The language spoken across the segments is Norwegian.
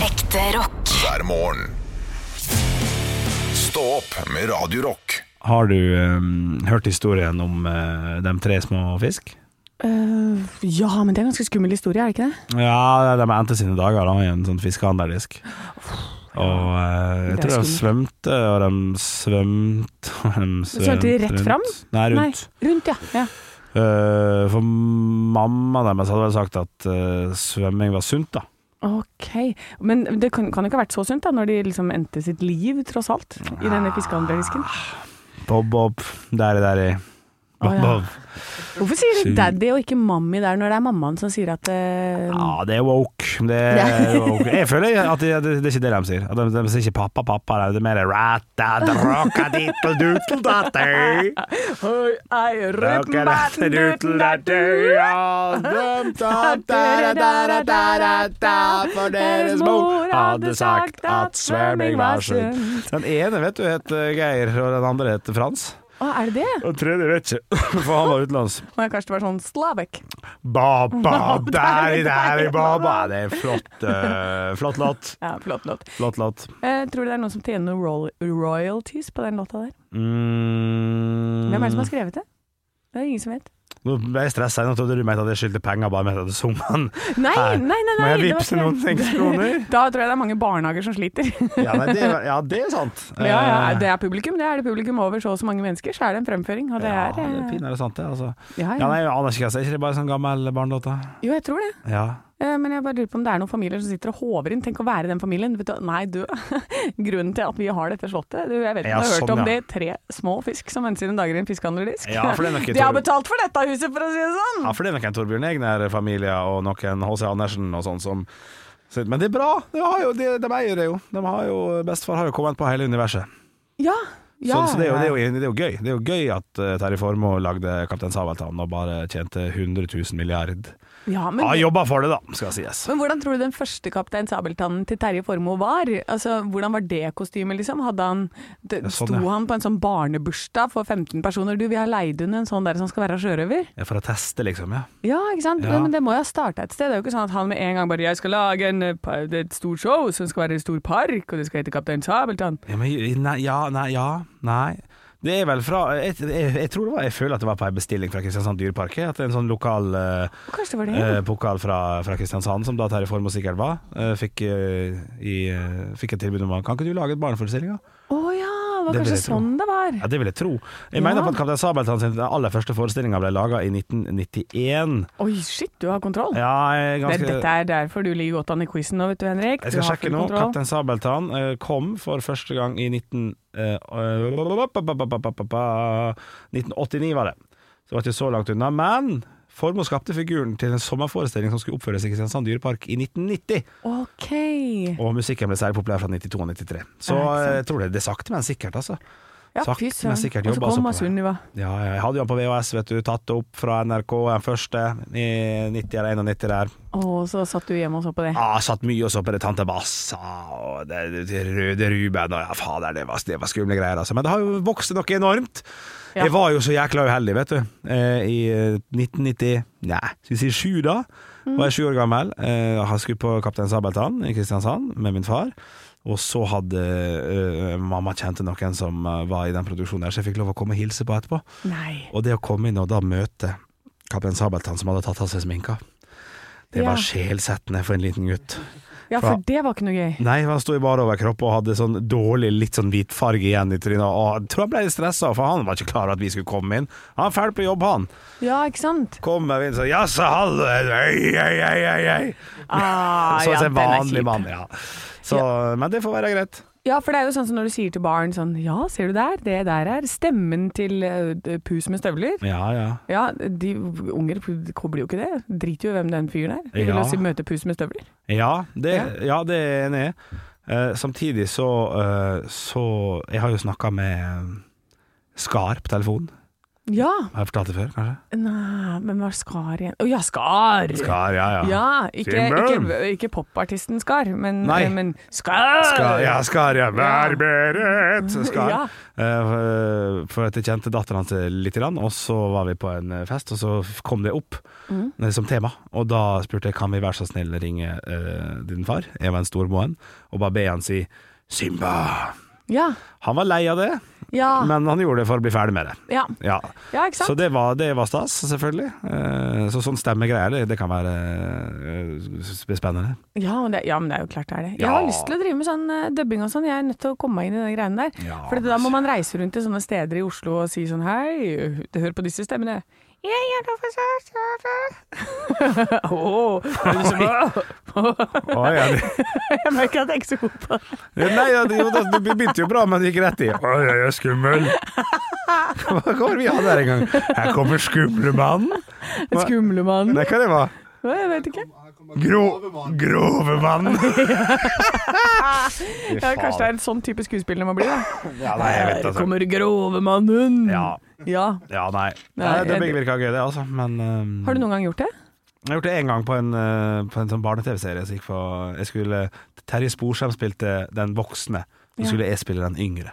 Ekte rock. hver morgen. Stå opp med Radio Rock. Har du eh, hørt historien om eh, de tre små fisk? Øh, ja, men det er en ganske skummel historie, er det ikke det? Ja, de endte sine dager da, i en sånn fiskehandlerdisk. Og eh, jeg Det er tror de skummelt. svømte, og de svømte og de svømte Svømte de rett rundt. fram? Nei, rundt. Nei, rundt, ja. ja. Eh, for mamma deres hadde vel sagt at eh, svømming var sunt, da. Ok. Men det kan, kan jo ikke ha vært så sunt, da, når de liksom endte sitt liv, tross alt, i Ah, denne fiskehandlerdisken. Bob-bob, deri-deri. Å, ja. Bob-bob. Hvorfor sier de Sykt. daddy og ikke mammy der, når det er mammaen som sier at øh, Ja, det er woke. Det er woke. Jeg føler at det, det, det er ikke det de sier. At de, de sier ikke 'pappa, pappa', det er mer rat, da, da, rocka, diddle, doodle, datter. Oi, ei, rypp, Rocka, matten, datter, doodle, dutten, datter, datter. ja, dum, da, da, da, da, da, da, da, For deres mor hadde sagt at svømming var sunt. Den ene vet du het eh, Geir, og den andre het Frans. Å, er det det? Og den tredje vet ikke, for han var utenlands. Må jeg kanskje være sånn Slabek? Baba, deri, deri, baba. Det er en flott, eh, flott låt. Ja, flott låt. Flott låt. Eh, tror du det er noen som tjener noen royal royalties på den låta der? Mm. Hvem er det som har skrevet det? Det er ingen som vet. Nå ble jeg stressa. Nå trodde du mente at jeg skyldte penger bare med at jeg sang den. Nei, Her. nei, nei, nei Må jeg det var vippse ikke- noen seks kroner? Da tror jeg det er mange barnehager som sliter. Ja, nei, det, er- ja, det er sant. ja, ja, Eh, det er publikum. Det er det publikum over så og så mange mennesker, så er det en fremføring. Og det ja, er, det er eh, pinadø sant, det. Altså. ja, Ja, ja. nei, jeg aner ikke, altså. Er ikke det bare sånn gammel barnelåt? da? Jo, jeg tror det. Ja. Eh, Men jeg bare lurer på om det er noen familier som sitter og håver inn. Tenk å være den familien. Vet du, nei, du. Grunnen til at vi har dette slottet du, Jeg vet ikke Ja, om du har hørt sånn, om ja. det. Tre små fisk som venter sine dager i en fiskehandlerdisk. Ja, for det er nok et De har år- betalt for dette huset, for å si det sånn! ja, for det er noen Torbjørn Egner-familier og noen H.C. Andersen og sånn som men det er bra! De, har jo, de, de eier det jo. De har jo. Bestefar har jo kommet på hele universet. Ja. ja. så, så Sånn det, er jo, det, er jo, det er jo gøy Det er jo gøy at eh, Terje Formoe lagde Kaptein Sabeltann og bare tjente 100 000 milliard. ja, men, Ja, jobba for det, da, skal sies. men hvordan tror du den første kaptein Sabeltannen til Terje Formoe var? Altså, hvordan var det kostymet, liksom? Hadde han, det, Ja, sånn, sto ja. han på en sånn barnebursdag for 15 personer? Du, vi har leid under en sånn der som skal være sjørøver. Ja, For å teste, liksom. ja Ja, ikke sant? Ja. Men det må jo ha starta et sted. Det er jo ikke sånn at han med en gang bare 'Jeg skal lage en, eh, pa- det er et stort show som skal være i en stor park, og det skal hete Kaptein Sabeltann'. Ja, men, nei, ja, nei, ja, nei. Det er vel fra jeg, jeg, jeg tror det var Jeg føler at det var på en bestilling fra Kristiansand Dyrepark. jeg, At det er en sånn lokal eh, Og Kanskje det var det? eh, pokal fra, fra Kristiansand, som da Terje Formoe sikkert var, eh, fikk, eh, i, eh, fikk et tilbud om Kan ikke du lage et barneforestilling, da? Å ja, det var Det vil kanskje jeg tro. sånn det var. Ja, det vil jeg tro. Jeg Ja. mener på at Kaptein Sabeltann sin aller første forestilling ble laga i 1991. Oi, shit, du har kontroll. Ja, jeg er Det er- ganske Dette er derfor du ligger godt an i quizen nå, vet du Henrik. Jeg Du skal har sjekke full nå. kontroll. Kaptein Sabeltann eh, kom for første gang i 19, eh, eh, 1989, var det. Så det var ikke så langt unna. Men Formoe skapte figuren til en sommerforestilling som skulle oppføres i Kristiansand Dyrepark i 1990. Ok. Og musikken ble særlig populær fra 92 og 93. Så Ja, ikke sant. eh, jeg tror det, det er sakte, men sikkert, altså. Ja, Sakte, fy men søren. sikkert Og så jobba altså kom på det. Sunniva. Ja, ja, jeg hadde jo han på VHS, vet du. Tatt det opp fra NRK, den første, i 90 eller 91 der. Og så satt du hjemme og så på det. Ja, Ah, satt mye og så på det Tante Bassa og det, det, det Røde Ruben og ja, fader, det var, det var skumle greier, altså. Men det har jo vokst noe enormt. Ja. Jeg var jo så jækla uheldig, vet du. Eh, I eh, 1990, nei, skal vi si sju da, Mm. var jeg sju år gammel. Eh, jeg skulle på Kaptein Sabeltann i Kristiansand med min far. Og så hadde eh, mamma kjente noen som eh, var i den produksjonen her, så jeg fikk lov å komme og hilse på etterpå. Nei. Og det å komme inn og da møte kaptein Sabeltann som hadde tatt av seg sminka, det Ja. var sjelsettende for en liten gutt. Ja, for Fra- det var ikke noe gøy. Nei, han sto i bare overkropp og hadde sånn dårlig, litt sånn hvitfarge igjen i trynet. Og jeg tror han ble litt stressa, for han var ikke klar over at vi skulle komme inn. Han er ferdig på jobb, han. Ja, ikke sant? Kommer vi inn sånn Jaså, hallo, hei, hei, hei, hei, hei. Ah, Sånn ja, som den en er vanlig kjip. mann, ja. Så, Men det får være greit. Ja, for det er jo sånn som når du sier til barn sånn Ja, ser du der? Det der er stemmen til eh, d- pus med støvler. Ja, ja. Ja, de unger p- kobler jo ikke det. Driter jo i hvem den fyren er. De vil Ja. jo si møte pus med støvler. Ja, det, ja, det er jeg enig i. Eh, samtidig så, eh, så Jeg har jo snakka med Skar eh, på telefon. Ja. Har jeg fortalt det før, kanskje? Nei, men hva er Skar igjen? Å ja, Skar! Skar, ja, ja. Ja, ikke, Timberland. ikke, ikke popartisten Skar, men, eh, Nei. men Skar! Skar, ja, skar, ja. Vær Ja. beredt! Skar. Ja. Eh, for at jeg kjente datteren hans litt, grann, og så var vi på en eh, fest, og så kom det opp eh, som tema. Og da spurte jeg kan vi være så snill ringe eh, din far, jeg var en stor moen, og bare be han si Simba. Ja, Han var lei av det, ja, men han gjorde det for å bli ferdig med det. ja. Ja. ja, ikke Så sant? det var, det var stas, selvfølgelig. Eh, Så sånn stemmegreier, det, det kan være eh, spennende. Ja, men det, ja, men det er jo klart det er det. Jeg Ja. har lyst til å drive med sånn eh, dubbing og sånn, jeg er nødt til å komme meg inn i den greiene der. Ja, altså. For da må man reise rundt til sånne steder i Oslo og si sånn hei, hør på disse stemmene. Jeg er da for Åh, er det så bra? Oi, ja, det- Jeg merker at jeg er ikke så god på det. Nei, ja, det, jo, det, det begynte jo bra, men det gikk rett i. Oi, jeg er skummel. Hva var det vi hadde her en gang? Her kommer skumle mannen. Hva- Skumle mann. Nei, hva det var? Hva, Jeg vet ikke. Gro, grove mannen. Ja, kanskje det er en sånn type skuespiller man blir, da. Ja, nei, jeg vet Her altså. kommer grovemannen. Ja. ja. Ja, nei. nei Nei, det jeg- begge virka gøy, det, altså. Men ehm, Har du noen gang gjort det? jeg har gjort det én gang på en, eh, på en sånn barne-TV-serie som gikk på jeg skulle, Terje Sporsem spilte den voksne. Så skulle jeg spille den yngre.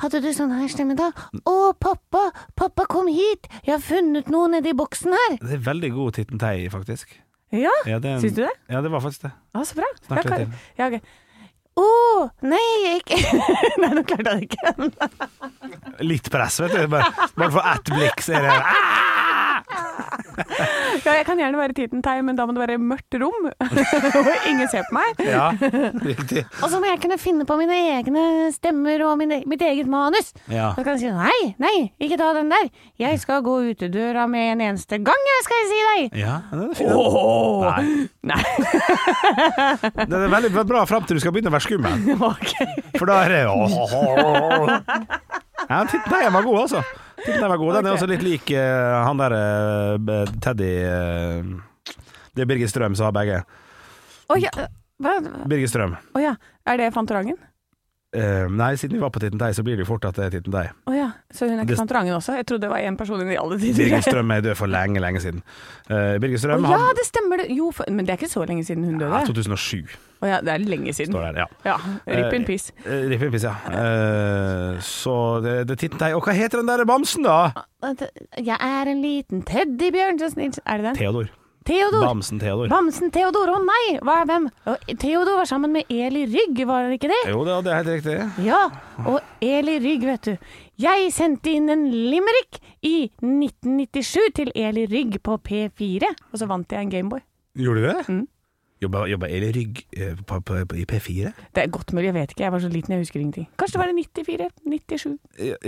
Hadde du sånn her stemme da? Å, pappa, pappa kom hit, jeg har funnet noe nedi boksen her. Det er veldig god Titten Tei, faktisk. Ja, Ja, det er en- syns du det? Ja, det var faktisk det. Ja, så bra. Snakk Ja, litt kan- Ja, ok. Å, nei, ikke Nei, nå klarte jeg det ikke. Litt press, vet du. Bare, bare for ett blikk, så er det Ah! Ja, jeg kan gjerne være titentei, men da må det være mørkt rom, og ingen ser på meg. Ja, riktig. Og så må jeg kunne finne på mine egne stemmer og mine, mitt eget manus. Ja. Så kan jeg si nei, nei, ikke ta den der. Jeg skal gå utedøra med en eneste gang, jeg skal jeg si deg. Ja, den er fin. den. Åh! Nei. Nei, Den er veldig bra fram til du skal begynne å være skummel, ok. for da er det Ja, Titten Tei var god, altså. Titten Tei var god. Den er også litt lik eh, han der eh, b- Teddy eh, Det er Birgit Strøm som har begge. Å ja. Hva? Birgit Strøm. Å ja. Er det Fantorangen? Eh, nei, siden vi var på Titten Tei, så blir det jo fort at det er Titten Tei. Å ja. Så hun er Det- ikke Fantorangen også? Jeg trodde det var én person i alle tider. Birgit Strøm er død for lenge, lenge siden. Eh, Birgit Å Strøm ja, han- det stemmer det. Jo, for, men det er ikke så lenge siden hun ja, døde. 2007 Å ja, det er lenge siden. står det her. Ja. Ja. Rip Eh, in peace. Eh, Rip in peace, ja. Eh, så det, det Titten Tei Og hva heter den der bamsen, da? Jeg er en liten teddybjørn, så snill. Er det den? Theodor. Theodor. Bamsen Theodor. Bamsen Theodor, å nei, hva er hvem? Å, Theodor var sammen med Eli Rygg, var det ikke det? Jo, det, det er helt riktig. Ja, og Eli Rygg, vet du. Jeg sendte inn en limerick i 1997 til Eli Rygg på P4, og så vant jeg en Gameboy. Gjorde du det? Mm. Jobba, jobba Eli Rygg eh, på, på, på, i P4? Det er godt mulig, jeg vet ikke. Jeg var så liten, jeg husker ingenting. Kanskje det var i 94, 97,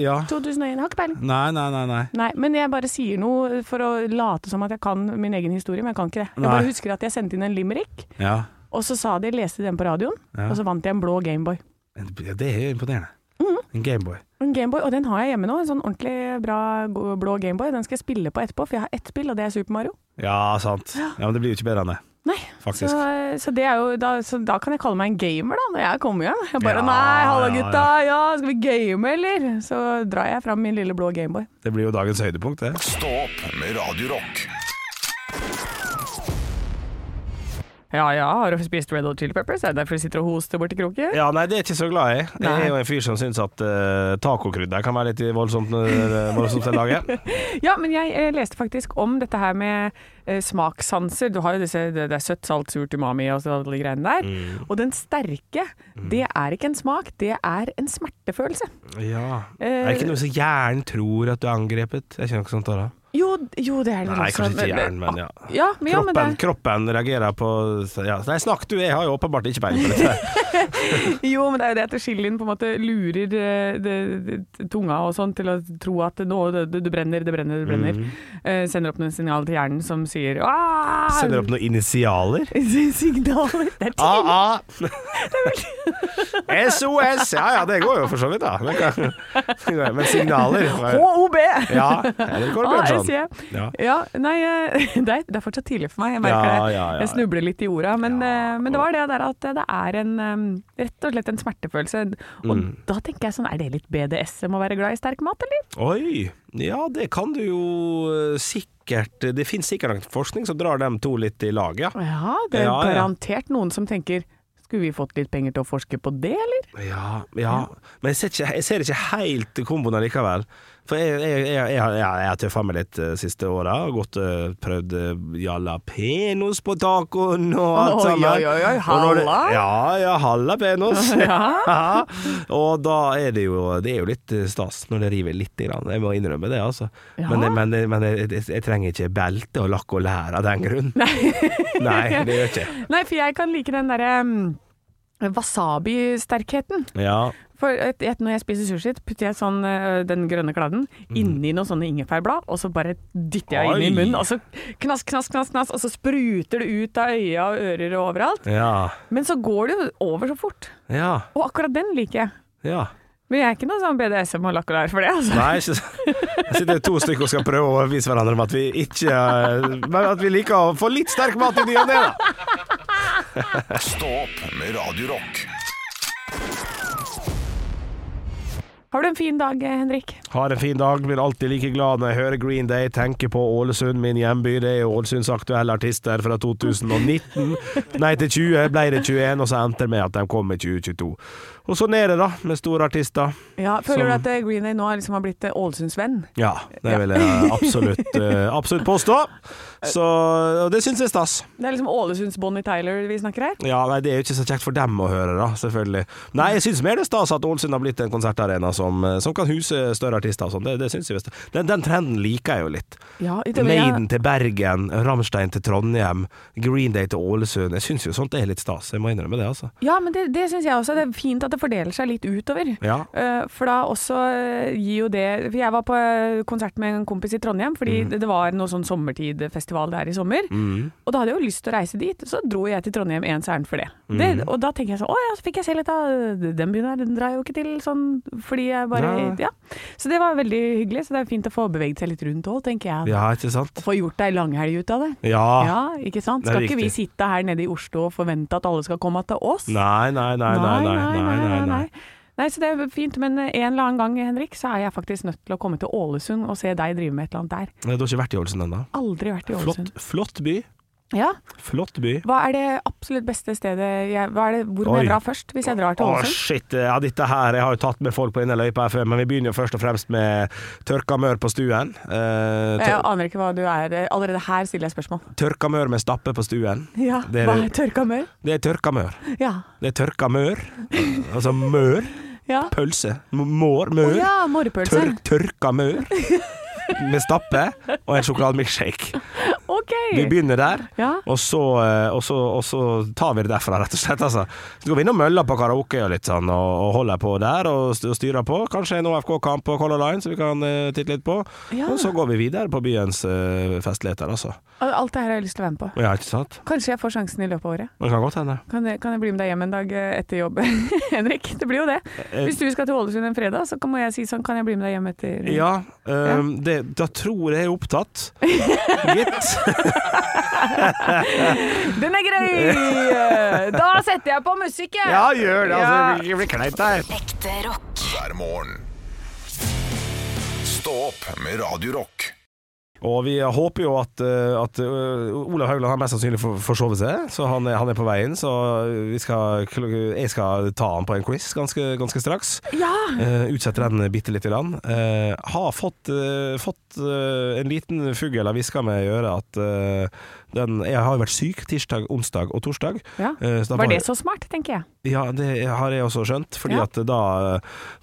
Ja. 2001. Har ikke peiling. Nei, nei, nei. nei. Nei, men jeg bare sier noe for å late som at jeg kan min egen historie, men jeg kan ikke det. Jeg Nei. bare husker at jeg sendte inn en limerick, Ja. og så sa de leste den på radioen, Ja. og så vant jeg en blå Gameboy. Men Det det er imponerende. Mm. En Gameboy. En Gameboy, og den har jeg hjemme nå. En sånn ordentlig bra go- blå Gameboy. Den skal jeg spille på etterpå, for jeg har ett spill, og det er Super Mario. Ja, sant. Ja, Men det blir jo ikke bedre enn det, Nei, så, faktisk. så, det er jo, da, så da kan jeg kalle meg en gamer, da, når jeg kommer hjem. Jeg bare Ja, nei, halla ja, gutta, ja, skal vi game, eller? Så drar jeg fram min lille blå Gameboy. Det blir jo dagens høydepunkt, det. Stå opp med Radio Rock. Ja ja, har du spist Red Hot Chili Peppers? Er det derfor du sitter og hoster borti kroken? Ja, nei, det er jeg ikke så glad i. Jeg Nei. er jo en fyr som syns at uh, tacokrydder kan være litt voldsomt, uh, voldsomt til laget. Ja, men jeg eh, leste faktisk om dette her med eh, smakssanser. Du har jo disse, det, det er søtt, salt, surt, umami og så alle de greiene der. Mm. Og den sterke, det er ikke en smak, det er en smertefølelse. Ja. Eh, er det ikke noe som hjernen tror at du er angrepet? Jeg kjenner ikke sånt da. Jo, jo det er det vel Nei, også, kanskje ikke hjernen, men ja. ja, men, altså, ja, men det Kroppen, kroppen reagerer på ja. Nei, snakk du, jeg har jo åpenbart ikke peiling på dette. Jo, men det er jo det at chilien på en måte lurer eh, det, det, tunga og sånn til å tro at nå, det, det, det brenner, det brenner, det brenner. Mm. Eh, sender opp noen signaler til hjernen som sier «Ah!» Sender opp noen initialer. Ah, Signaler. Det er ting. AA. ah. SOS! Ja ja, det går jo for så vidt, da. Det kan, men signaler HOB! Ja, Erik Kolbjørnson. ASJ. Ja. Ja, nei, eh, det er, det er fortsatt tidlig for meg. Jeg merker Ja, ja, det. ja, Jeg snubler litt i orda. Men, Ja, eh, men det var det der at det er en eh, rett og slett en smertefølelse. Og Mm. da tenker jeg sånn, er det litt BDSM å være glad i sterk mat, eller? Oi! Ja, det kan du jo eh, sikkert Det finnes sikkert forskning som drar dem to litt i lag, ja. Ja, det er Ja, ja. garantert noen som tenker skulle vi fått litt penger til å forske på det, eller? Ja, ja. Men jeg ser, ikke, jeg ser ikke helt komboen likevel. For jeg, jeg, jeg, jeg, jeg, jeg har tøffa meg litt de siste åra. Gått og prøvd eh, jalapenos på tacoen og alt Oi, sammen. oi, oi, oi, Og når det- halla? Ja, ja, hallapenos. Ja. og da er det jo Det er jo litt eh, stas når det river litt. Grann. Jeg må innrømme det, altså. Ja. Men, men, men eh, jeg, jeg, jeg trenger ikke belte og lakk og lær av den grunn. Nei, det gjør jeg ikke. Nei, for jeg kan like den derre mm, wasabi-sterkheten. Ja. For et, et, når jeg spiser sushi, putter jeg sånn ø, den grønne kladden inni noen sånne ingefærblad, og så bare dytter jeg inn Mm. i Oi. munnen, og så knask, knask, knask, knask, og så spruter det ut av øya og ører og overalt. Ja. Men så går det jo over så fort. Ja. Og akkurat den liker jeg. ja. Men jeg er ikke noe sånn BDSM og lakk og lær for det, altså. Nei, ikke Jeg sitter to stykker og skal prøve å overbevise hverandre om at vi ikke eh, Men at vi liker å få litt sterk mat i ny og ne, da. Stå opp med Radio Rock. Har du en fin dag, eh, Henrik? Har en fin dag, blir alltid like glad når jeg hører Green Day, tenker på Ålesund, min hjemby. Det er jo Ålesunds aktuelle artister fra 2019. Nei, til 20 ble det 21, og så endte det med at de kom i 2022. Og sånn er det, da, med store artister. Ja, Føler Som- du at eh, Green Day nå liksom har blitt eh, Ålesunds venn? Ja, det vil jeg absolutt, eh, absolutt påstå. Så og det syns jeg er stas. Det er liksom Ålesunds Bonnie Tyler vi snakker her. Ja, nei, Det er jo ikke så kjekt for dem å høre, da, selvfølgelig. Nei, jeg syns mer det er stas at Ålesund har blitt en konsertarena som, eh, som kan huse større artister og sånn. Det, det synes jeg er stas. den, den trenden liker jeg jo litt. Ja, i teorien- Maiden til Bergen, Ramstein til Trondheim, Green Day til Ålesund. Jeg syns jo sånt er litt stas, jeg må innrømme det, altså. Ja, men det, det syns jeg også. Det er fint at det fordeler seg litt utover. Ja. Eh, For da også eh, gir jo det For jeg var på eh, konsert med en kompis i Trondheim, Mhm. fordi det- det var noe sånn sommertidfestival der i sommer. Mm. Og da hadde jeg jo lyst til å reise dit, så dro jeg til Trondheim ens ærend for det. Mhm. det. Og da tenker jeg sånn Å ja, så fikk jeg se litt av den byen her, den drar jeg jo ikke til sånn fordi jeg bare Nei. Ja. Så det var veldig hyggelig. Så det er fint å få beveget seg litt rundt òg, tenker jeg. Ja, ikke sant? Få gjort ei langhelg ut av det. Ja. Ja, ikke sant? det er Skal ikke vi riktig. sitte her nede i Oslo og forvente at alle skal komme til oss? Nei, nei, nei, nei, nei, nei, nei, nei. Nei, så det er fint, men en eller annen gang, Henrik, så er jeg faktisk nødt til å komme til Ålesund og se deg drive med et eller annet der. Du har ikke vært i Ålesund ennå? Aldri vært i Flott, Ålesund. flott by. Ja, Flott by. Hva er det absolutt beste stedet jeg, hva er det, Hvor må Oi. jeg dra først, hvis jeg drar til Å, Ålesund? shit. Ja, dette her Jeg har jo tatt med folk på denne løypa her før, men vi begynner jo først og fremst med tørka mør på stuen. Eh, Jeg tør aner ikke hva du er. Allerede her stiller jeg spørsmål. Tørka mør med stappe på stuen. Ja, Det er- Hva er tørka mør? Det er tørka mør. Ja. Det er tørka mør. Altså mør. ja. Pølse. M- Mår. Å Mør. ja, morrepølse. Tør, tørka mør. Med stappe og en sjokolademilkshake. OK. Vi begynner der. Ja. Og så, eh, og, så, og så tar vi det derfra, rett og slett. Altså. Så går vi innom mølla på karaoke og litt sånn, og, og holder på der og, st- og styrer på. Kanskje en OFK-kamp på Color Line som vi kan eh, titte litt på. Ja. Og så går vi videre på byens eh, festligheter, altså. Alt det her har jeg lyst til å være med på. Ja, ikke sant? Kanskje jeg får sjansen i løpet av året. Det kan godt hende. Kan jeg, kan jeg bli med deg hjem en dag eh, etter jobb, Henrik? Det blir jo det. Eh, Hvis du skal til Ålesund en fredag, så kan- må jeg si sånn, kan jeg bli med deg hjem etter Ja, ehm, Det, da tror jeg jeg er opptatt. Gitt. Den er grei! Da setter jeg på musikken! Ja, gjør det. Ja. Altså, det blir- det blir kleint der. Ekte rock. hver morgen. Stå opp med Radio Rock. Og vi håper jo at, eh, at eh, Olav Haugland har mest sannsynlig for- forsovet seg, så han er, han er på veien. Så vi skal, jeg skal ta han på en quiz ganske, ganske straks. Ja! Eh, utsette den bitte lite grann. Eh, har fått, eh, fått eh, en liten fugl har hviska meg i øret at eh, den Jeg har jo vært syk tirsdag, onsdag og torsdag. ja. Eh, så da Var det så smart, tenker jeg. Ja, det har jeg også skjønt. Fordi Ja. at da,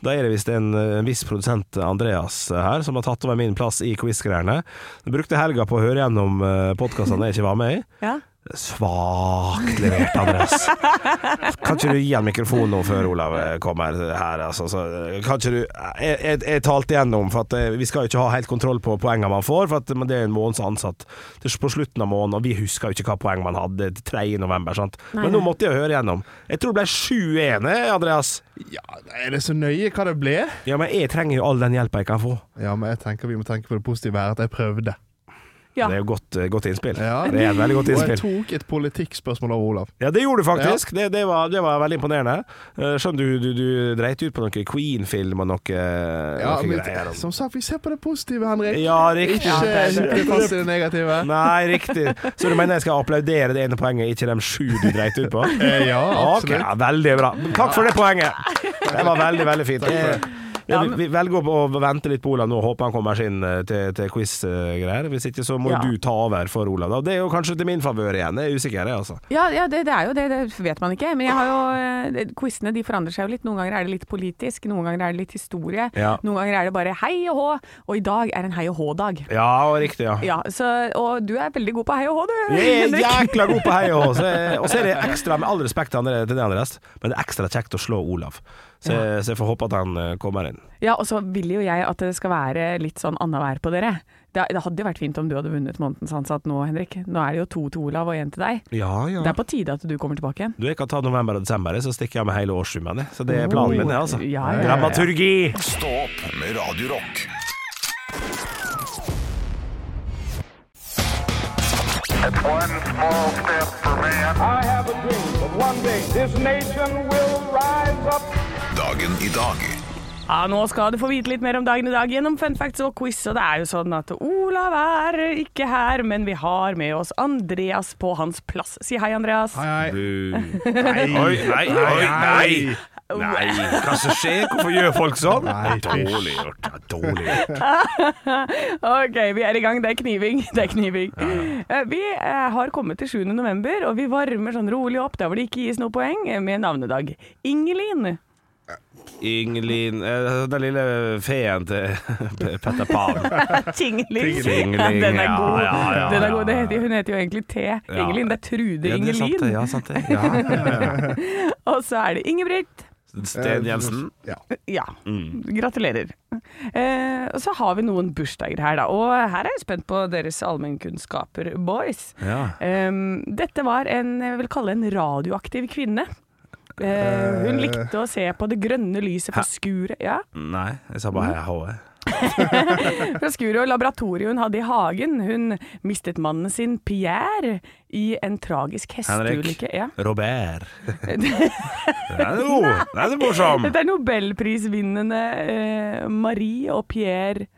da er det visst en, en viss produsent, Andreas, her, som har tatt over min plass i quiz-greiene. eh, Jeg Brukte helga på å høre gjennom podkastene jeg ikke var med i. Ja. Svakt levert, Andreas. Kan ikke du gi han mikrofonen nå før Olav eh, kommer her, altså? Så, eh, kan ikke du Jeg, jeg, jeg talte igjennom, for at eh, vi skal jo ikke ha helt kontroll på poengene man får, for at men det er en måneds ansatt til på slutten av måneden, og vi husker jo ikke hva poeng man hadde til 3. november, sant? Men nå måtte jeg høre igjennom. Jeg tror det ble 7-1, eh, Andreas. Ja, er det så nøye hva det ble? Ja, men jeg trenger jo all den hjelpa jeg kan få. Ja, men jeg tenker vi må tenke på det positive her, at jeg prøvde. Ja. Det er jo godt, eh, godt innspill. Ja. Det er et veldig godt Og jeg innspill. tok et politikkspørsmål av Olav. Ja, det gjorde du faktisk. Det, det, var, det var veldig imponerende. Eh, Skjønner du, du, du dreit ut på noe Queen-film og noe, Ja, noe men greier. om- som sagt, vi ser på det positive, Henrik. Ja, riktig. Ikke hytte fast i det negative. Nei, riktig. Så du mener jeg skal applaudere det ene poenget, ikke de sju du dreit ut på? Eh, Ja, Ok, absolutt. ja, veldig bra. Men Takk for det poenget. Det var veldig, veldig fint. Takk Ja, vi, vi velger å vente litt på Olav nå, håper han kommer seg inn eh, til, til quiz-greier. Hvis ikke så må Ja. du ta over for Olav. Da. Det er jo kanskje til min favør igjen, jeg er usikker, jeg, altså. Ja, ja det, det er jo det, det vet man ikke. Men jeg har jo, eh, det- quizene de forandrer seg jo litt. Noen ganger er det litt politisk, noen ganger er det litt historie. Ja. Noen ganger er det bare hei og hå, og i dag er en hei og hå-dag. Ja, og riktig, ja. Ja, så, og du er veldig god på hei og hå, du. Jeg er Henrik. jækla god på hei og så- Og så er det ekstra, med all respekt til andre- til det Andreas, men det er ekstra kjekt å slå Olav. Så, jeg- så jeg får håpe at han eh, kommer inn. Ja, og så vil jo jeg at det skal være litt sånn annenhver på dere. Det, det hadde jo vært fint om du hadde vunnet månedens ansatt nå, Henrik. Nå er det jo to til Olav og én til deg. Ja, ja. Det er på tide at du kommer tilbake igjen. Du, jeg kan ta november og desember, så stikker jeg med hele årssummen. jeg. Så det er planen min, det, altså. Ja, ja, ja. Dramaturgi! Stå opp med Radio Rock. I have a dream that one day this nation will rise up. Dagen i dag. Ja, nå skal du få vite litt mer om dagen i dag gjennom fun facts og quiz. Og det er jo sånn at Olav er ikke her, men vi har med oss Andreas på hans plass. Si hei, Andreas. Hei, hei. Oi, nei, oi, nei! Nei, hva som skjer? Hvorfor gjør folk sånn? Nei, fysj. Dårlig gjort. Ja, dårlig gjort. Ok, vi er i gang. Det er kniving. Det er kniving. Eh, Vi eh, har kommet til 7. november, og vi varmer sånn rolig opp der hvor det ikke gis noe poeng, eh, med navnedag. Ingelin. Ingelin eh, Den lille feen til Petter Pan. Tingeling. Tingeling, Ja, den ja, er god. ja, ja, den er god. Det ja. heter, hun heter jo egentlig T. Ingelin. Det er Trude Ja, det er sant Ingelin. det. Ja, sant det. Ja, ja, ja. Og så er det Ingebrigt. Sten Jensen. Ja. Ja. Mm. Gratulerer. Eh, og så har vi noen bursdager her, da. Og her er jeg spent på deres allmennkunnskaper, boys. Ja. Eh, dette var en, jeg vil kalle en radioaktiv kvinne. Eh, hun likte å se på det grønne lyset fra skuret ja, Nei, jeg sa bare E. hei, hå. fra skuret og laboratoriet hun hadde i hagen. Hun mistet mannen sin, Pierre, i en tragisk Henrik. hesteulykke. Ja. Robert. Den er god. Den er morsom. Dette er nobelprisvinnende eh, Marie og Pierre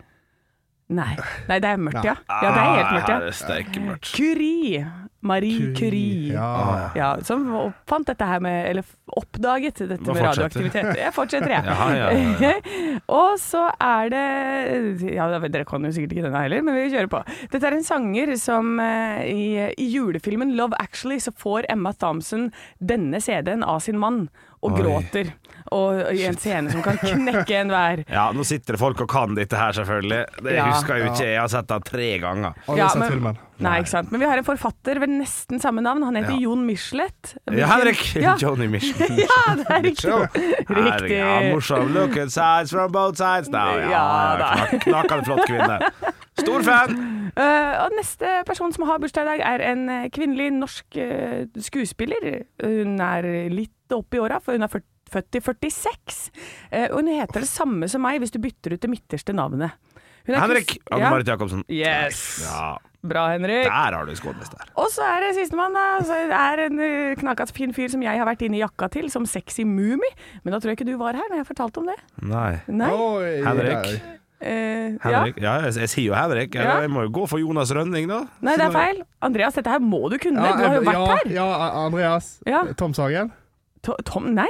Nei, Nei det er mørkt, ja. ja det er helt mørkt, Ah, ja. det er steike mørkt. Curie. Marie Curie. Ja. Ja, som oppfant dette her med Eller oppdaget dette Hva med fortsetter? radioaktivitet. Jeg fortsetter, jeg. Ja, ja, ja, ja. Og så er det Ja, dere kan jo sikkert ikke denne heller, men vi kjører på. Dette er en sanger som eh, i, i julefilmen Love Actually så får Emma Thompson denne CD-en av sin mann og Oi. gråter. Og, og i en scene som kan knekke enhver. Ja, nå sitter det folk og kan dette her, selvfølgelig. Det Ja. husker jeg jo ikke. Jeg har sett den tre ganger. Alle Ja, har sett men- filmen. Nei, ikke sant. Men vi har en forfatter ved nesten samme navn. Han heter Jon Michelet. Ja, Henrik! Ja. Johnny Mission. Ja, det er riktig. Riktig. Ja, morsom. Look at sides from both sides. Nå, ja, Ja, da. ja, knak- knakende flott kvinne. Stor fan! Eh, og neste person som har bursdag i dag, er en eh, kvinnelig norsk eh, skuespiller. Hun er litt oppi åra, for hun er fyrt- født i 46. Eh, og hun heter det samme som meg hvis du bytter ut det midterste navnet. Hun er Henrik! Chris- Anne Marit Jacobsen. Ja. Yes! Ja, Bra, Henrik. der har du skådmester. Og så er det sistemann, da. Så det er en uh, knakas fin fyr som jeg har vært inne i jakka til, som sexy mumi. Men da tror jeg ikke du var her når jeg fortalte om det. Nei. Nei. Oi, Henrik. der. Eh, ja. Henrik. Ja, jeg, jeg sier jo Henrik. Jeg, Ja. jeg må jo gå for Jonas Rønning, da. Nei, det er feil. Andreas, dette her må du kunne. du har jo vært ja, her. ja, Andreas. Ja. Tom Sagen. To- Tom, nei!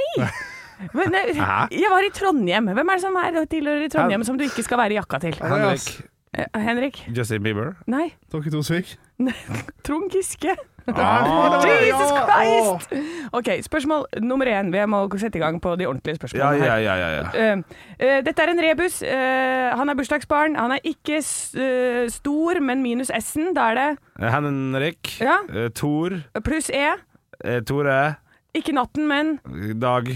Men, eh, Hæ? jeg var i Trondheim. Hvem er det som er tilhører i Trondheim som du ikke skal være i jakka til? Andreas. Henrik. Eh, Henrik? Justin Bieber. Nei. Dere to svik. Trond Giske. Ah, Jesus ja, Christ! OK, spørsmål nummer én. Vi må sette i gang på de ordentlige Ja, spørsmålene. her. ja, ja, ja, ja. Eh, eh, dette er en rebus. Eh, han er bursdagsbarn. Han er ikke s eh, stor, men minus S-en. Da er det Henrik, Ja. eh, Tor, pluss E. eh, Tore, Ikke natten, men Dag,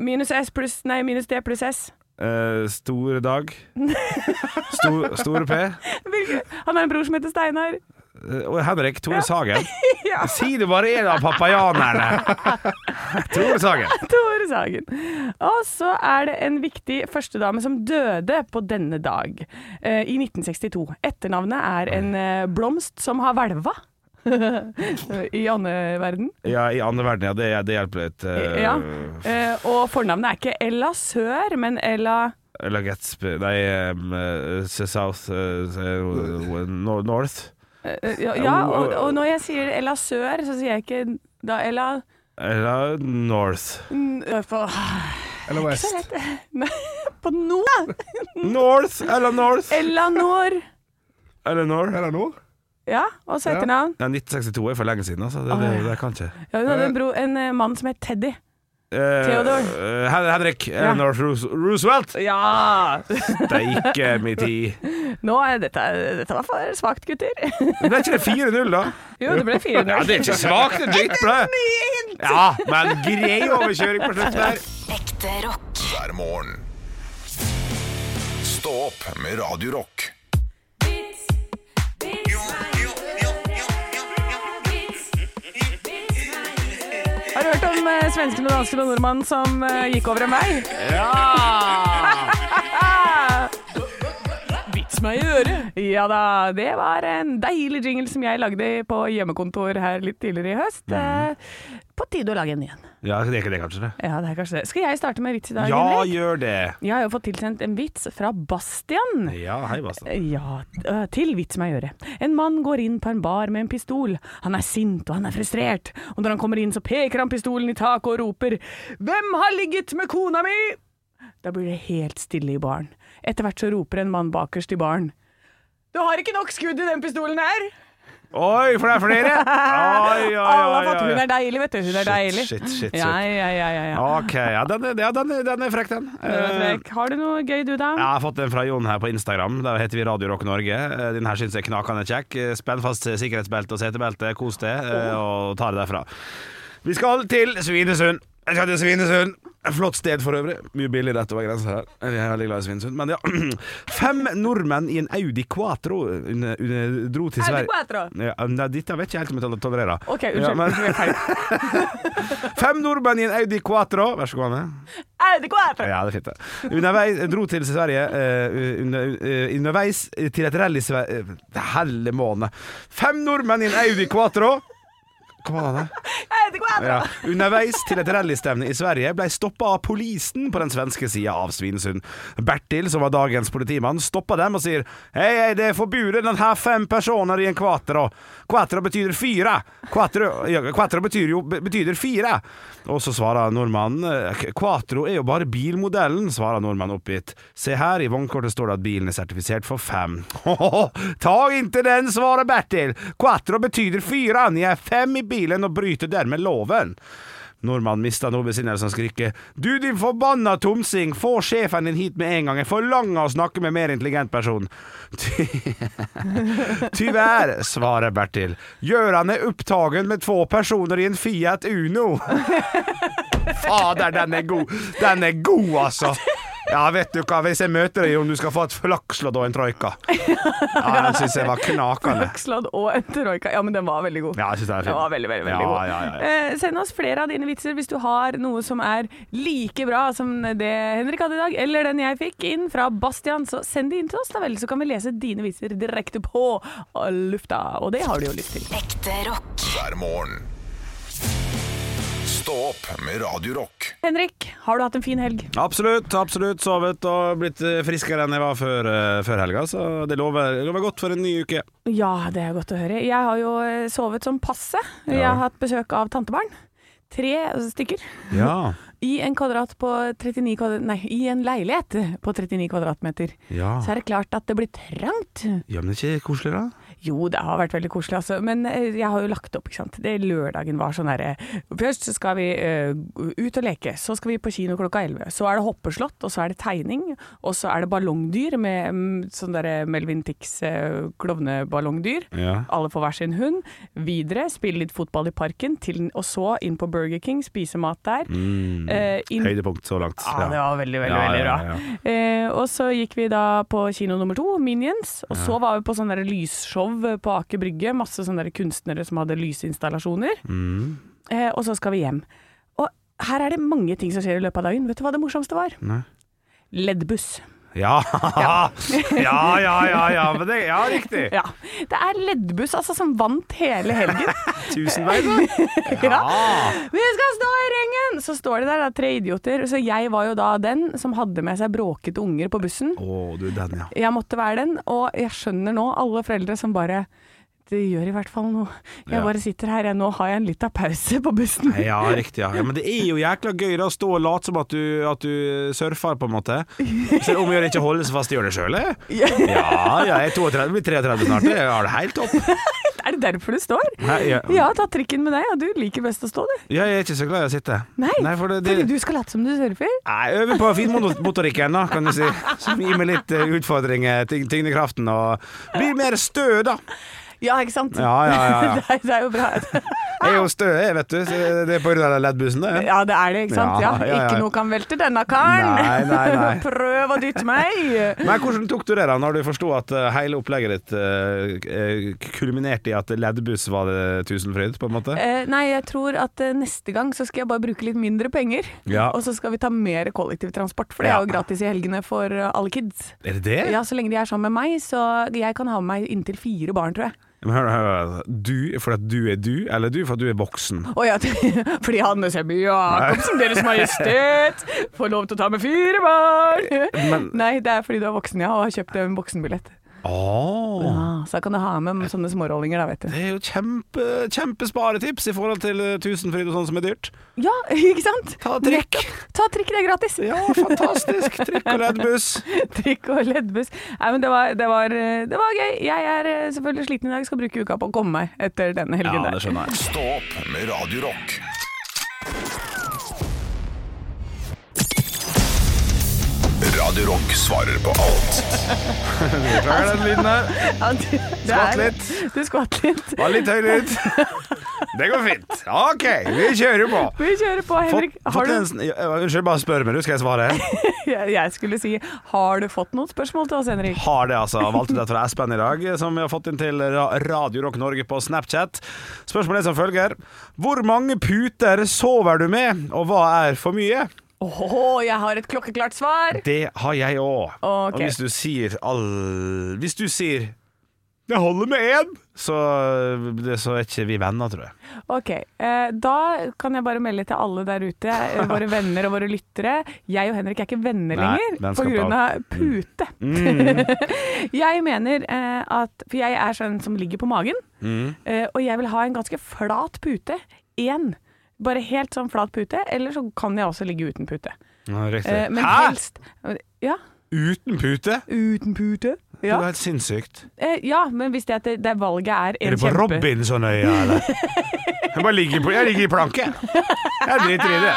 minus S pluss Nei, minus D pluss S. eh, Store Dag, Stor, Store P, Hvilke- Han har en bror som heter Steinar. eh, og Henrik Tore Sagen. Ja, Si det bare en av papajanerne! Tore Sagen. Tore Sagen. Og så er det en viktig førstedame som døde på denne dag, eh, i 1962. Etternavnet er en eh, blomst som har hvelva. I åndeverden. Ja, i andre verden, ja. Det, det hjelper litt. eh, Ja. Eh, og fornavnet er ikke Ella Sør, men Ella Eller Gatsby Nei, um, eh, South eh, eh, nor- North. Eh, Ja, ja og, og når jeg sier Ella Sør, så sier jeg ikke da Ella Eller North. n- eh, på, Eller West. Nei, på nord. Mm. North eller North Ella Nord. eller North. Er det nord? Ja, og så etternavn. Ja, 1962 er for lenge siden, altså. Det, det, det kan ikke. Ja, hun hadde en, bro, en eh, mann som het Teddy. Eh, Theodore. eh, Hen- Henrik eh, North Roos- Roosevelt. Ja! Det er ikke min tid. Nå er dette, dette var for svakt, gutter. Men er ikke det 4-0, da? Jo, det ble Ja, 400. Det er ikke svakt, det er dritbra. Ja, men grei overkjøring på slutten der. Ekte rock. hver morgen. Stå opp med Radio Rock. Har du hørt om eh, svensken og dansken og nordmannen som eh, gikk over en vei? Ja! Vits meg i øret. Ja da, det var en deilig jingle som jeg lagde på hjemmekontor her litt tidligere i høst. Mhm. Eh, På tide å lage en igjen. Ja, det er ikke det, kanskje? det Ja, det er kanskje det. Skal jeg starte med vits i dag? Ja, Henrik? gjør det. Jeg har jo fått tilsendt en vits fra Bastian. Ja, hei, Basta. Ja, øh, til vits meg øre. En mann går inn på en bar med en pistol. Han er sint og han er frustrert, og når han kommer inn så peker han pistolen i taket og roper Hvem har ligget med kona mi? Da blir det helt stille i baren. Etter hvert så roper en mann bakerst i baren. Du har ikke nok skudd i den pistolen her! Oi, for det er flere! Oi, oi, oi, Alle har oi, fått oi. Hun er deilig, vet du. Hun er Shit, deilig. shit, shit, shit. Ja, ja, ja, ja, ja. Ok, ja, den er, ja, den er, den er frekk, den. Det var Eh, frekk. Har du noe gøy du, da? Jeg har fått den fra Jon her på Instagram. Der heter vi Radio Rock Norge. Eh, Den her syns jeg er knakende kjekk. Eh, Spenn fast sikkerhetsbelte og setebelte, kos deg, eh, Oh. og ta det derfra. Vi skal til Svinesund. Jeg skal til Svinesund. Et Flott sted for øvrig. Mye billig rett over grensa her. Jeg er veldig glad i Svinesund. Men ja. Fem nordmenn i en Audi Quattro under- under- dro til Audi Sverige Quattro. Ja, nei, dette vet jeg ikke helt om jeg tol- tolererer. OK, Ja, unnskyld. men- det ble feil. Fem nordmenn i en Audi Quattro Vær så god, Anne. Audi Quattro. Ja, det er fint det. Underveis dro til Sverige eh, under, eh, Underveis til et rally i Sverige Helle måne Fem nordmenn i en Audi Quattro Hva var det? der? Audi Quattro. Ja. Underveis til et rallystevne i Sverige ble stoppa av polisen på den svenske sida av Svinesund. Bertil, som var dagens politimann, stoppa dem og sier Hei, hei, det er forbudet den her fem personer i en quattro. Quattro betyr fire. Quattro, ja, quattro betyr jo betyr fire. Og så svarer nordmannen «Eh, Quattro er jo bare bilmodellen, svarer nordmannen oppgitt. Se her, i vognkortet står det at bilen er sertifisert for fem. Ta ikke den, svarer Bertil. Quattro betyr fire. Ni er fem i bilen og bryter dermed loven. Nordmannen mista nå besinnelsen og skriker Du din forbanna tomsing, få sjefen din hit med en gang, jeg forlanger å snakke med en mer intelligent person. Ty Tyvärr, svarer Bertil. Göran er opptagen med två personer i en Fiat Uno. Fader, den er god! Den er god, altså! Ja, vet du hva, hvis jeg møter deg, om du skal få et flakslodd og en troika. Ja, den syns jeg var knakende. Flakslodd og en troika. Ja, men den var veldig god. Ja, jeg synes den er fin. Den var veldig, veldig, veldig Ja, god. ja, ja, ja. Eh, send oss flere av dine vitser hvis du har noe som er like bra som det Henrik hadde i dag, eller den jeg fikk inn fra Bastian. Så send de inn til oss, da vel, så kan vi lese dine vitser direkte på eh, lufta. Og det har du jo lyst til. Ekte rock. hver morgen. Stå opp med Radio Rock. Henrik, har du hatt en fin helg? Absolutt, absolutt. Sovet og blitt eh, friskere enn jeg var før, eh, før helga, så det lover, det lover godt for en ny uke. Ja, det er godt å høre. Jeg har jo eh, sovet som passe. Jeg har hatt besøk av tantebarn. Tre stykker. Ja, I en kvadrat på 39 kvadrat... Nei, i en leilighet på 39 kvadratmeter. ja. Så er det klart at det blir trangt. ja men ikke koselig, da? Jo, det har vært veldig koselig, altså. Men eh, jeg har jo lagt opp, ikke sant. Det lørdagen var sånn herre Først så skal vi eh, ut og leke, så skal vi på kino klokka elleve. Så er det hoppeslott, og så er det tegning, og så er det ballongdyr med mm, sånn derre Melvin Tix eh, klovneballongdyr. Ja. Alle får hver sin hund. Videre spille litt fotball i parken, til, og så inn på Burger King, spise mat der. Eh, inn Høydepunkt så langt. Ja, det var veldig, veldig, Mm. Ja, veldig ja, bra. Eh, og så gikk vi da på kino nummer to, Minions. Og så var vi på sånn der lysshow på Aker Brygge. Masse sånne der kunstnere som hadde lysinstallasjoner. Eh, og så skal vi hjem. Og her er det mange ting som skjer i løpet av dagen. Vet du hva det morsomste var? Leddbuss. Ja. Ja. ja, ja, ja, ja, men det, ja riktig. Ja. Det er leddbuss altså, som vant hele helgen. Tusenveien. Ja. Vi skal stå i ringen! Så står de der, da, tre idioter. Så jeg var jo da den som hadde med seg bråkete unger på bussen. Å, du den, ja. Jeg måtte være den, og jeg skjønner nå alle foreldre som bare det gjør i hvert fall noe. Jeg Ja. bare sitter her, jeg. Nå har jeg en liten pause på bussen. Ja, riktig. Ja. Ja, men det er jo jækla gøy da, å stå og late som at du, at du surfer, på en måte. Så om jeg ikke holder så fast, gjør det sjøl, jeg. Ja, jeg er 32, blir 33 snart. Jeg har det helt topp. Er det derfor du står? Nei, ja. Ja, ta trikken med deg, og du liker best å stå, du. Ja, jeg er ikke så glad i å sitte. Nei, for det, fordi det, du skal late som du surfer. nei øver på finmotorikken, da, kan du si. Som gir meg litt eh, utfordringer, tyng- tyngdekraften, og blir mer stø, da. Ja, ikke sant? Ja, ja, ja. ja. det, er, det er jo bra. Jeg er jo stø, jeg, vet du. Så det er på grunn av den leddbussen, det. Ja, det er det, ikke sant? Ja, Ja, ja, ja. Ikke noe kan velte denne karen. Nei, nei, nei. Prøv å dytte meg. Men hvordan tok du det da, når du forsto at eh, hele opplegget ditt eh, eh, kulminerte i at leddbuss var det Tusenfryd, på en måte? Eh, nei, jeg tror at eh, neste gang så skal jeg bare bruke litt mindre penger. Ja. Og så skal vi ta mer kollektivtransport, for det Ja. er jo gratis i helgene for eh, alle kids. Er det det? Ja, så lenge de er sammen med meg, så jeg kan ha med meg inntil fire barn, tror jeg. Men hør, hør, hør. Du fordi at du er du, eller du fordi at du er voksen? Å ja, fordi Hanne Semi Jacobsen, Deres Majestet, får lov til å ta med fire barn! Nei, det er fordi du er voksen, ja, og har kjøpt en voksenbillett. Åh Ah, så da kan du ha med sånne smårollinger, da, vet du. Det er jo kjempe, kjempesparetips i forhold til eh, Tusenfryd og sånn som er dyrt. Ja, ikke sant? Ta trikk. Nettopp. Ta trikk, det er gratis! Ja, fantastisk! Trikk og leddbuss. Trikk og leddbuss. Nei, men det var, det, var, eh, det var gøy. Jeg er eh, selvfølgelig sliten i dag, skal bruke uka på å komme meg etter denne helgen der. skjønner jeg. Stå opp med Radio Rock. Radio Rock svarer på alt Beklager den lyden der. Ja, du- det Skvatt er- litt. Du skvatt litt. Var litt høylytt. Det går fint. OK, vi kjører på. Vi kjører på, Henrik. Fått- Har fått du en sn- Ja, Unnskyld, bare spør meg, du. Skal jeg svare? Jeg jeg skulle si Har du fått noen spørsmål til oss, Henrik? Har det, altså. Valgt ut et fra Espen i dag, eh, som vi har fått inn til Ra- Radio Rock Norge på Snapchat. Spørsmålet er som følger. Hvor mange puter sover du med, og hva er for mye? Åh, jeg har et klokkeklart svar! Det har jeg òg. Ok. Og hvis du sier all Hvis du sier det holder med én, så, så er ikke vi venner, tror jeg. Ok, eh, Da kan jeg bare melde til alle der ute, eh, våre venner og våre lyttere. Jeg og Henrik er ikke venner Nei, den lenger skal Mm. pga. pute. jeg mener eh, at For jeg er sånn som ligger på magen, Mm. eh, og jeg vil ha en ganske flat pute. Én. Bare helt sånn flat pute, eller så kan jeg også ligge uten pute. Eh, men Hæ? helst Ja, Uten pute? uten pute. Det Ja. er jo helt sinnssykt. Eh, ja, men hvis det, at det, det valget er en Er det på kjempe... Robinsonøya, eller? Jeg bare ligger, på, jeg ligger i planke. Jeg driter i det.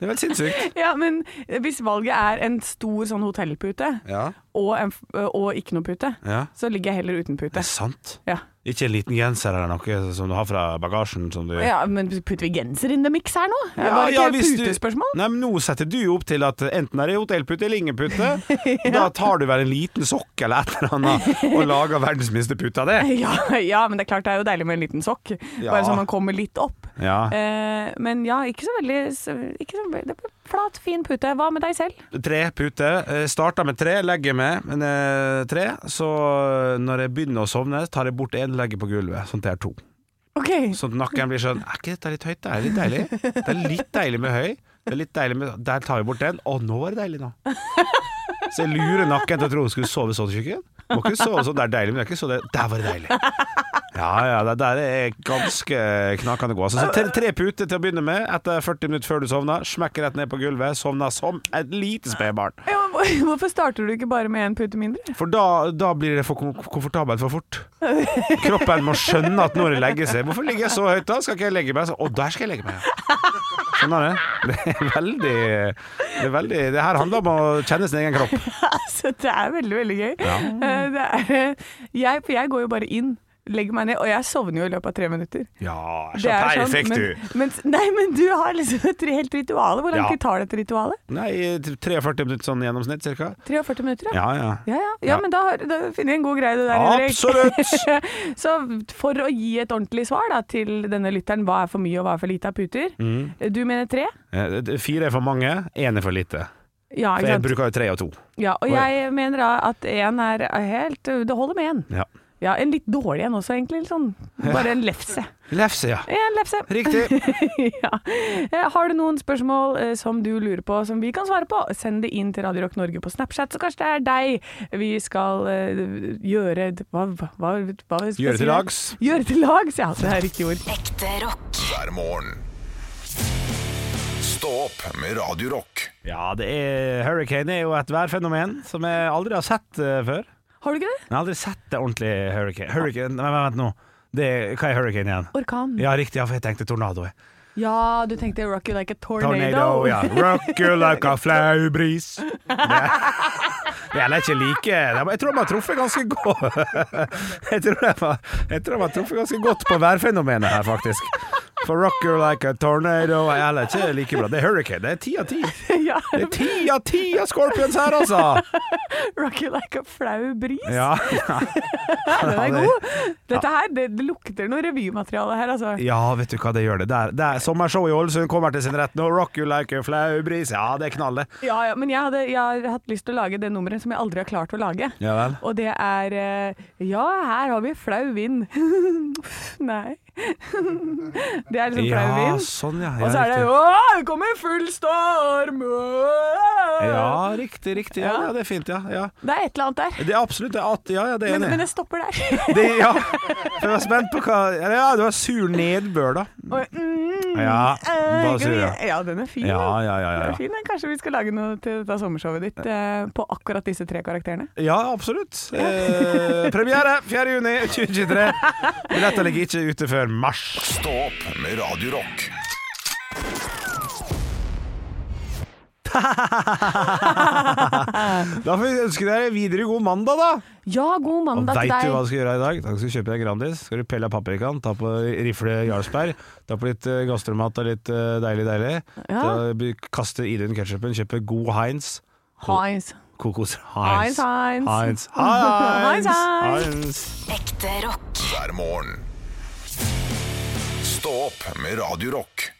Det er helt sinnssykt. Ja, men hvis valget er en stor sånn hotellpute Ja. og, en, f- og ikke noe pute, Ja. så ligger jeg heller uten Det pute. er sant. Ja, Ikke en liten genser eller noe som du har fra bagasjen? Som du ja men putter vi genser in the mix her nå? Ja, Var det ikke hvis du- putespørsmål? Nei, men Nå setter du opp til at enten er det hotellpute eller ingen pute. Da tar du vel en liten sokk eller et eller annet og lager verdens minste pute av det. Ja, ja, men det er klart det er jo deilig med en liten sokk. Ja. Bare så man kommer litt opp. Ja. Eh, men ja, ikke så veldig så- ikke så veldig, Flat, fin pute. Hva med deg selv? Tre puter. Eh, Starter med tre, legger med men, eh, tre. Så eh, når jeg begynner å sovne, tar jeg bort én, legger på gulvet. Sånn at jeg har to. OK. Sånn at nakken blir sånn Er ikke dette litt høyt? Det er litt deilig. Det er litt deilig med høy. Det er litt deilig med Der tar vi bort den. Å, nå er det deilig, nå. Så jeg lurer nakken til å tro hun skulle sove sånn i kjøkken. Må ikke sove sånn, det er deilig, men det er ikke så deilig. Der var det deilig. Ja, ja, det der er ganske knakende god. Altså, så tre, tre puter til å begynne med. Etter 40 minutter før du sovner, smekk rett ned på gulvet, sovner som et lite spedbarn. Ja, men hvor- Hvorfor starter du ikke bare med én pute mindre? For da, da blir det for kom komfortabelt for fort. Kroppen må skjønne at når det legger seg Hvorfor ligger jeg så høyt da? Skal ikke jeg legge meg? Så, Å, der skal jeg legge meg. ja. Skjønner du? Det er veldig Det er veldig Det her handler om å kjenne sin egen kropp. Altså, det er veldig, veldig gøy. Eh, Det er, eh, jeg, for jeg går jo bare inn, legger meg ned, og jeg sovner jo i løpet av tre minutter. Ja, Det er sånn, perfekt, men, du. Men, nei, men du har liksom et helt ritual. Hvor lang Ja. tid tar dette ritualet? Nei, 43 minutter sånn gjennomsnitt, cirka. 43 minutter, ja. Ja, ja. Ja, ja. ja, men da, har- da finner jeg en god greie det der, Henrik. Absolutt. så for å gi et ordentlig svar da, til denne lytteren, hva er for mye og hva er for lite av puter? Mm. Du mener tre? Eh, det- Fire er for mange, én er for lite. Ja, For ikke jeg sant? bruker jo tre og to. Ja, og Oi. jeg mener da at én er helt Det holder med én. Ja. Ja, en litt dårlig en også, egentlig. litt Sånn. Bare en lefse. Lefse, ja. En lefse. Riktig. ja. Eh, Har du noen spørsmål eh, som du lurer på som vi kan svare på, send det inn til Radio Rock Norge på Snapchat, så kanskje det er deg vi skal eh, gjøre d- Hva, hva, hva hva skal jeg Gjøre si? til lags. Gjøre til lags, ja. Det er riktig ord. Ekte rock. hver morgen. Stå opp med Radio Rock. Ja, det er Hurricane er jo et værfenomen som jeg aldri har sett eh, før. Har du ikke det? Jeg har aldri sett det ordentlig hurricane. Hurricane, nei, men vent nå. Det er, hva er hurricane igjen? Orkan. Ja, Ja, riktig, ja, for jeg tenkte tornado. jeg. du tenkte rock you like a tornado. Tornado, ja. Rock you like a flau bris. Det det er ikke like Jeg tror de har truffet ganske godt Jeg tror de har, jeg tror de har truffet ganske godt på værfenomenet her, faktisk. For rock you like a tornado Jeg er ikke like bra. Det er hurricane. Det er ti av ti. Ja, Det er ti av ti av Scorpions her, altså! rock you like a flau bris. Ja, Den Ja, er det- god. Dette her, det, det lukter noe revymateriale her, altså. Ja, vet du hva det gjør det. Det er, det er sommershow i Ålesund kommer til sin rett nå. Rock you like a flau bris. Ja, det er knall, det. Ja, ja, men jeg, hadde, jeg har hatt lyst til å lage det nummeret som jeg aldri har klart å lage. Ja vel. Og det er eh, Ja, her har vi flau vind. Nei. det er liksom flau Ja, vind. sånn, ja. ja Og så er det riktig. Å, det kommer full storm! Åh! Ja, riktig, riktig. Ja, Ja. ja, det er fint, ja. ja. Det er et eller annet der. Det er absolutt det. er At, ja, ja, det er Men, enig. men det stopper der. det, ja. Jeg var spent på hva Ja, det var sur nedbør, da. Og, mm, Ja, eh, bare kan sier vi- det. ja, den er fin. Ja, den. ja, ja. Den ja, er ja. fin, den. Kanskje vi skal lage noe til dette sommershowet ditt eh, på akkurat disse tre karakterene. ja absolutt. Eh, premiere 4. juni 2023. Billetter ligger ikke ute før mars. Stå opp med Radio Rock. Da får vi ønske dere videre god mandag, da. Ja, god Og mandag til veit du hva deg. du skal gjøre i dag? Da skal du kjøpe deg Grandis, skal du pelle av paprikaen, ta på rifle Jarlsberg, ta på litt uh, gastromat og litt eh, deilig, deilig. Ja. Da by- Kaste i den ketsjupen, kjøpe god Heinz. Heinz. Kokos Heinz, Heinz. Heinz. Heinz. Heinz, Heinz. Heinz. Heinz. Ekte rock. hver morgen. Stå opp med Radio Rock.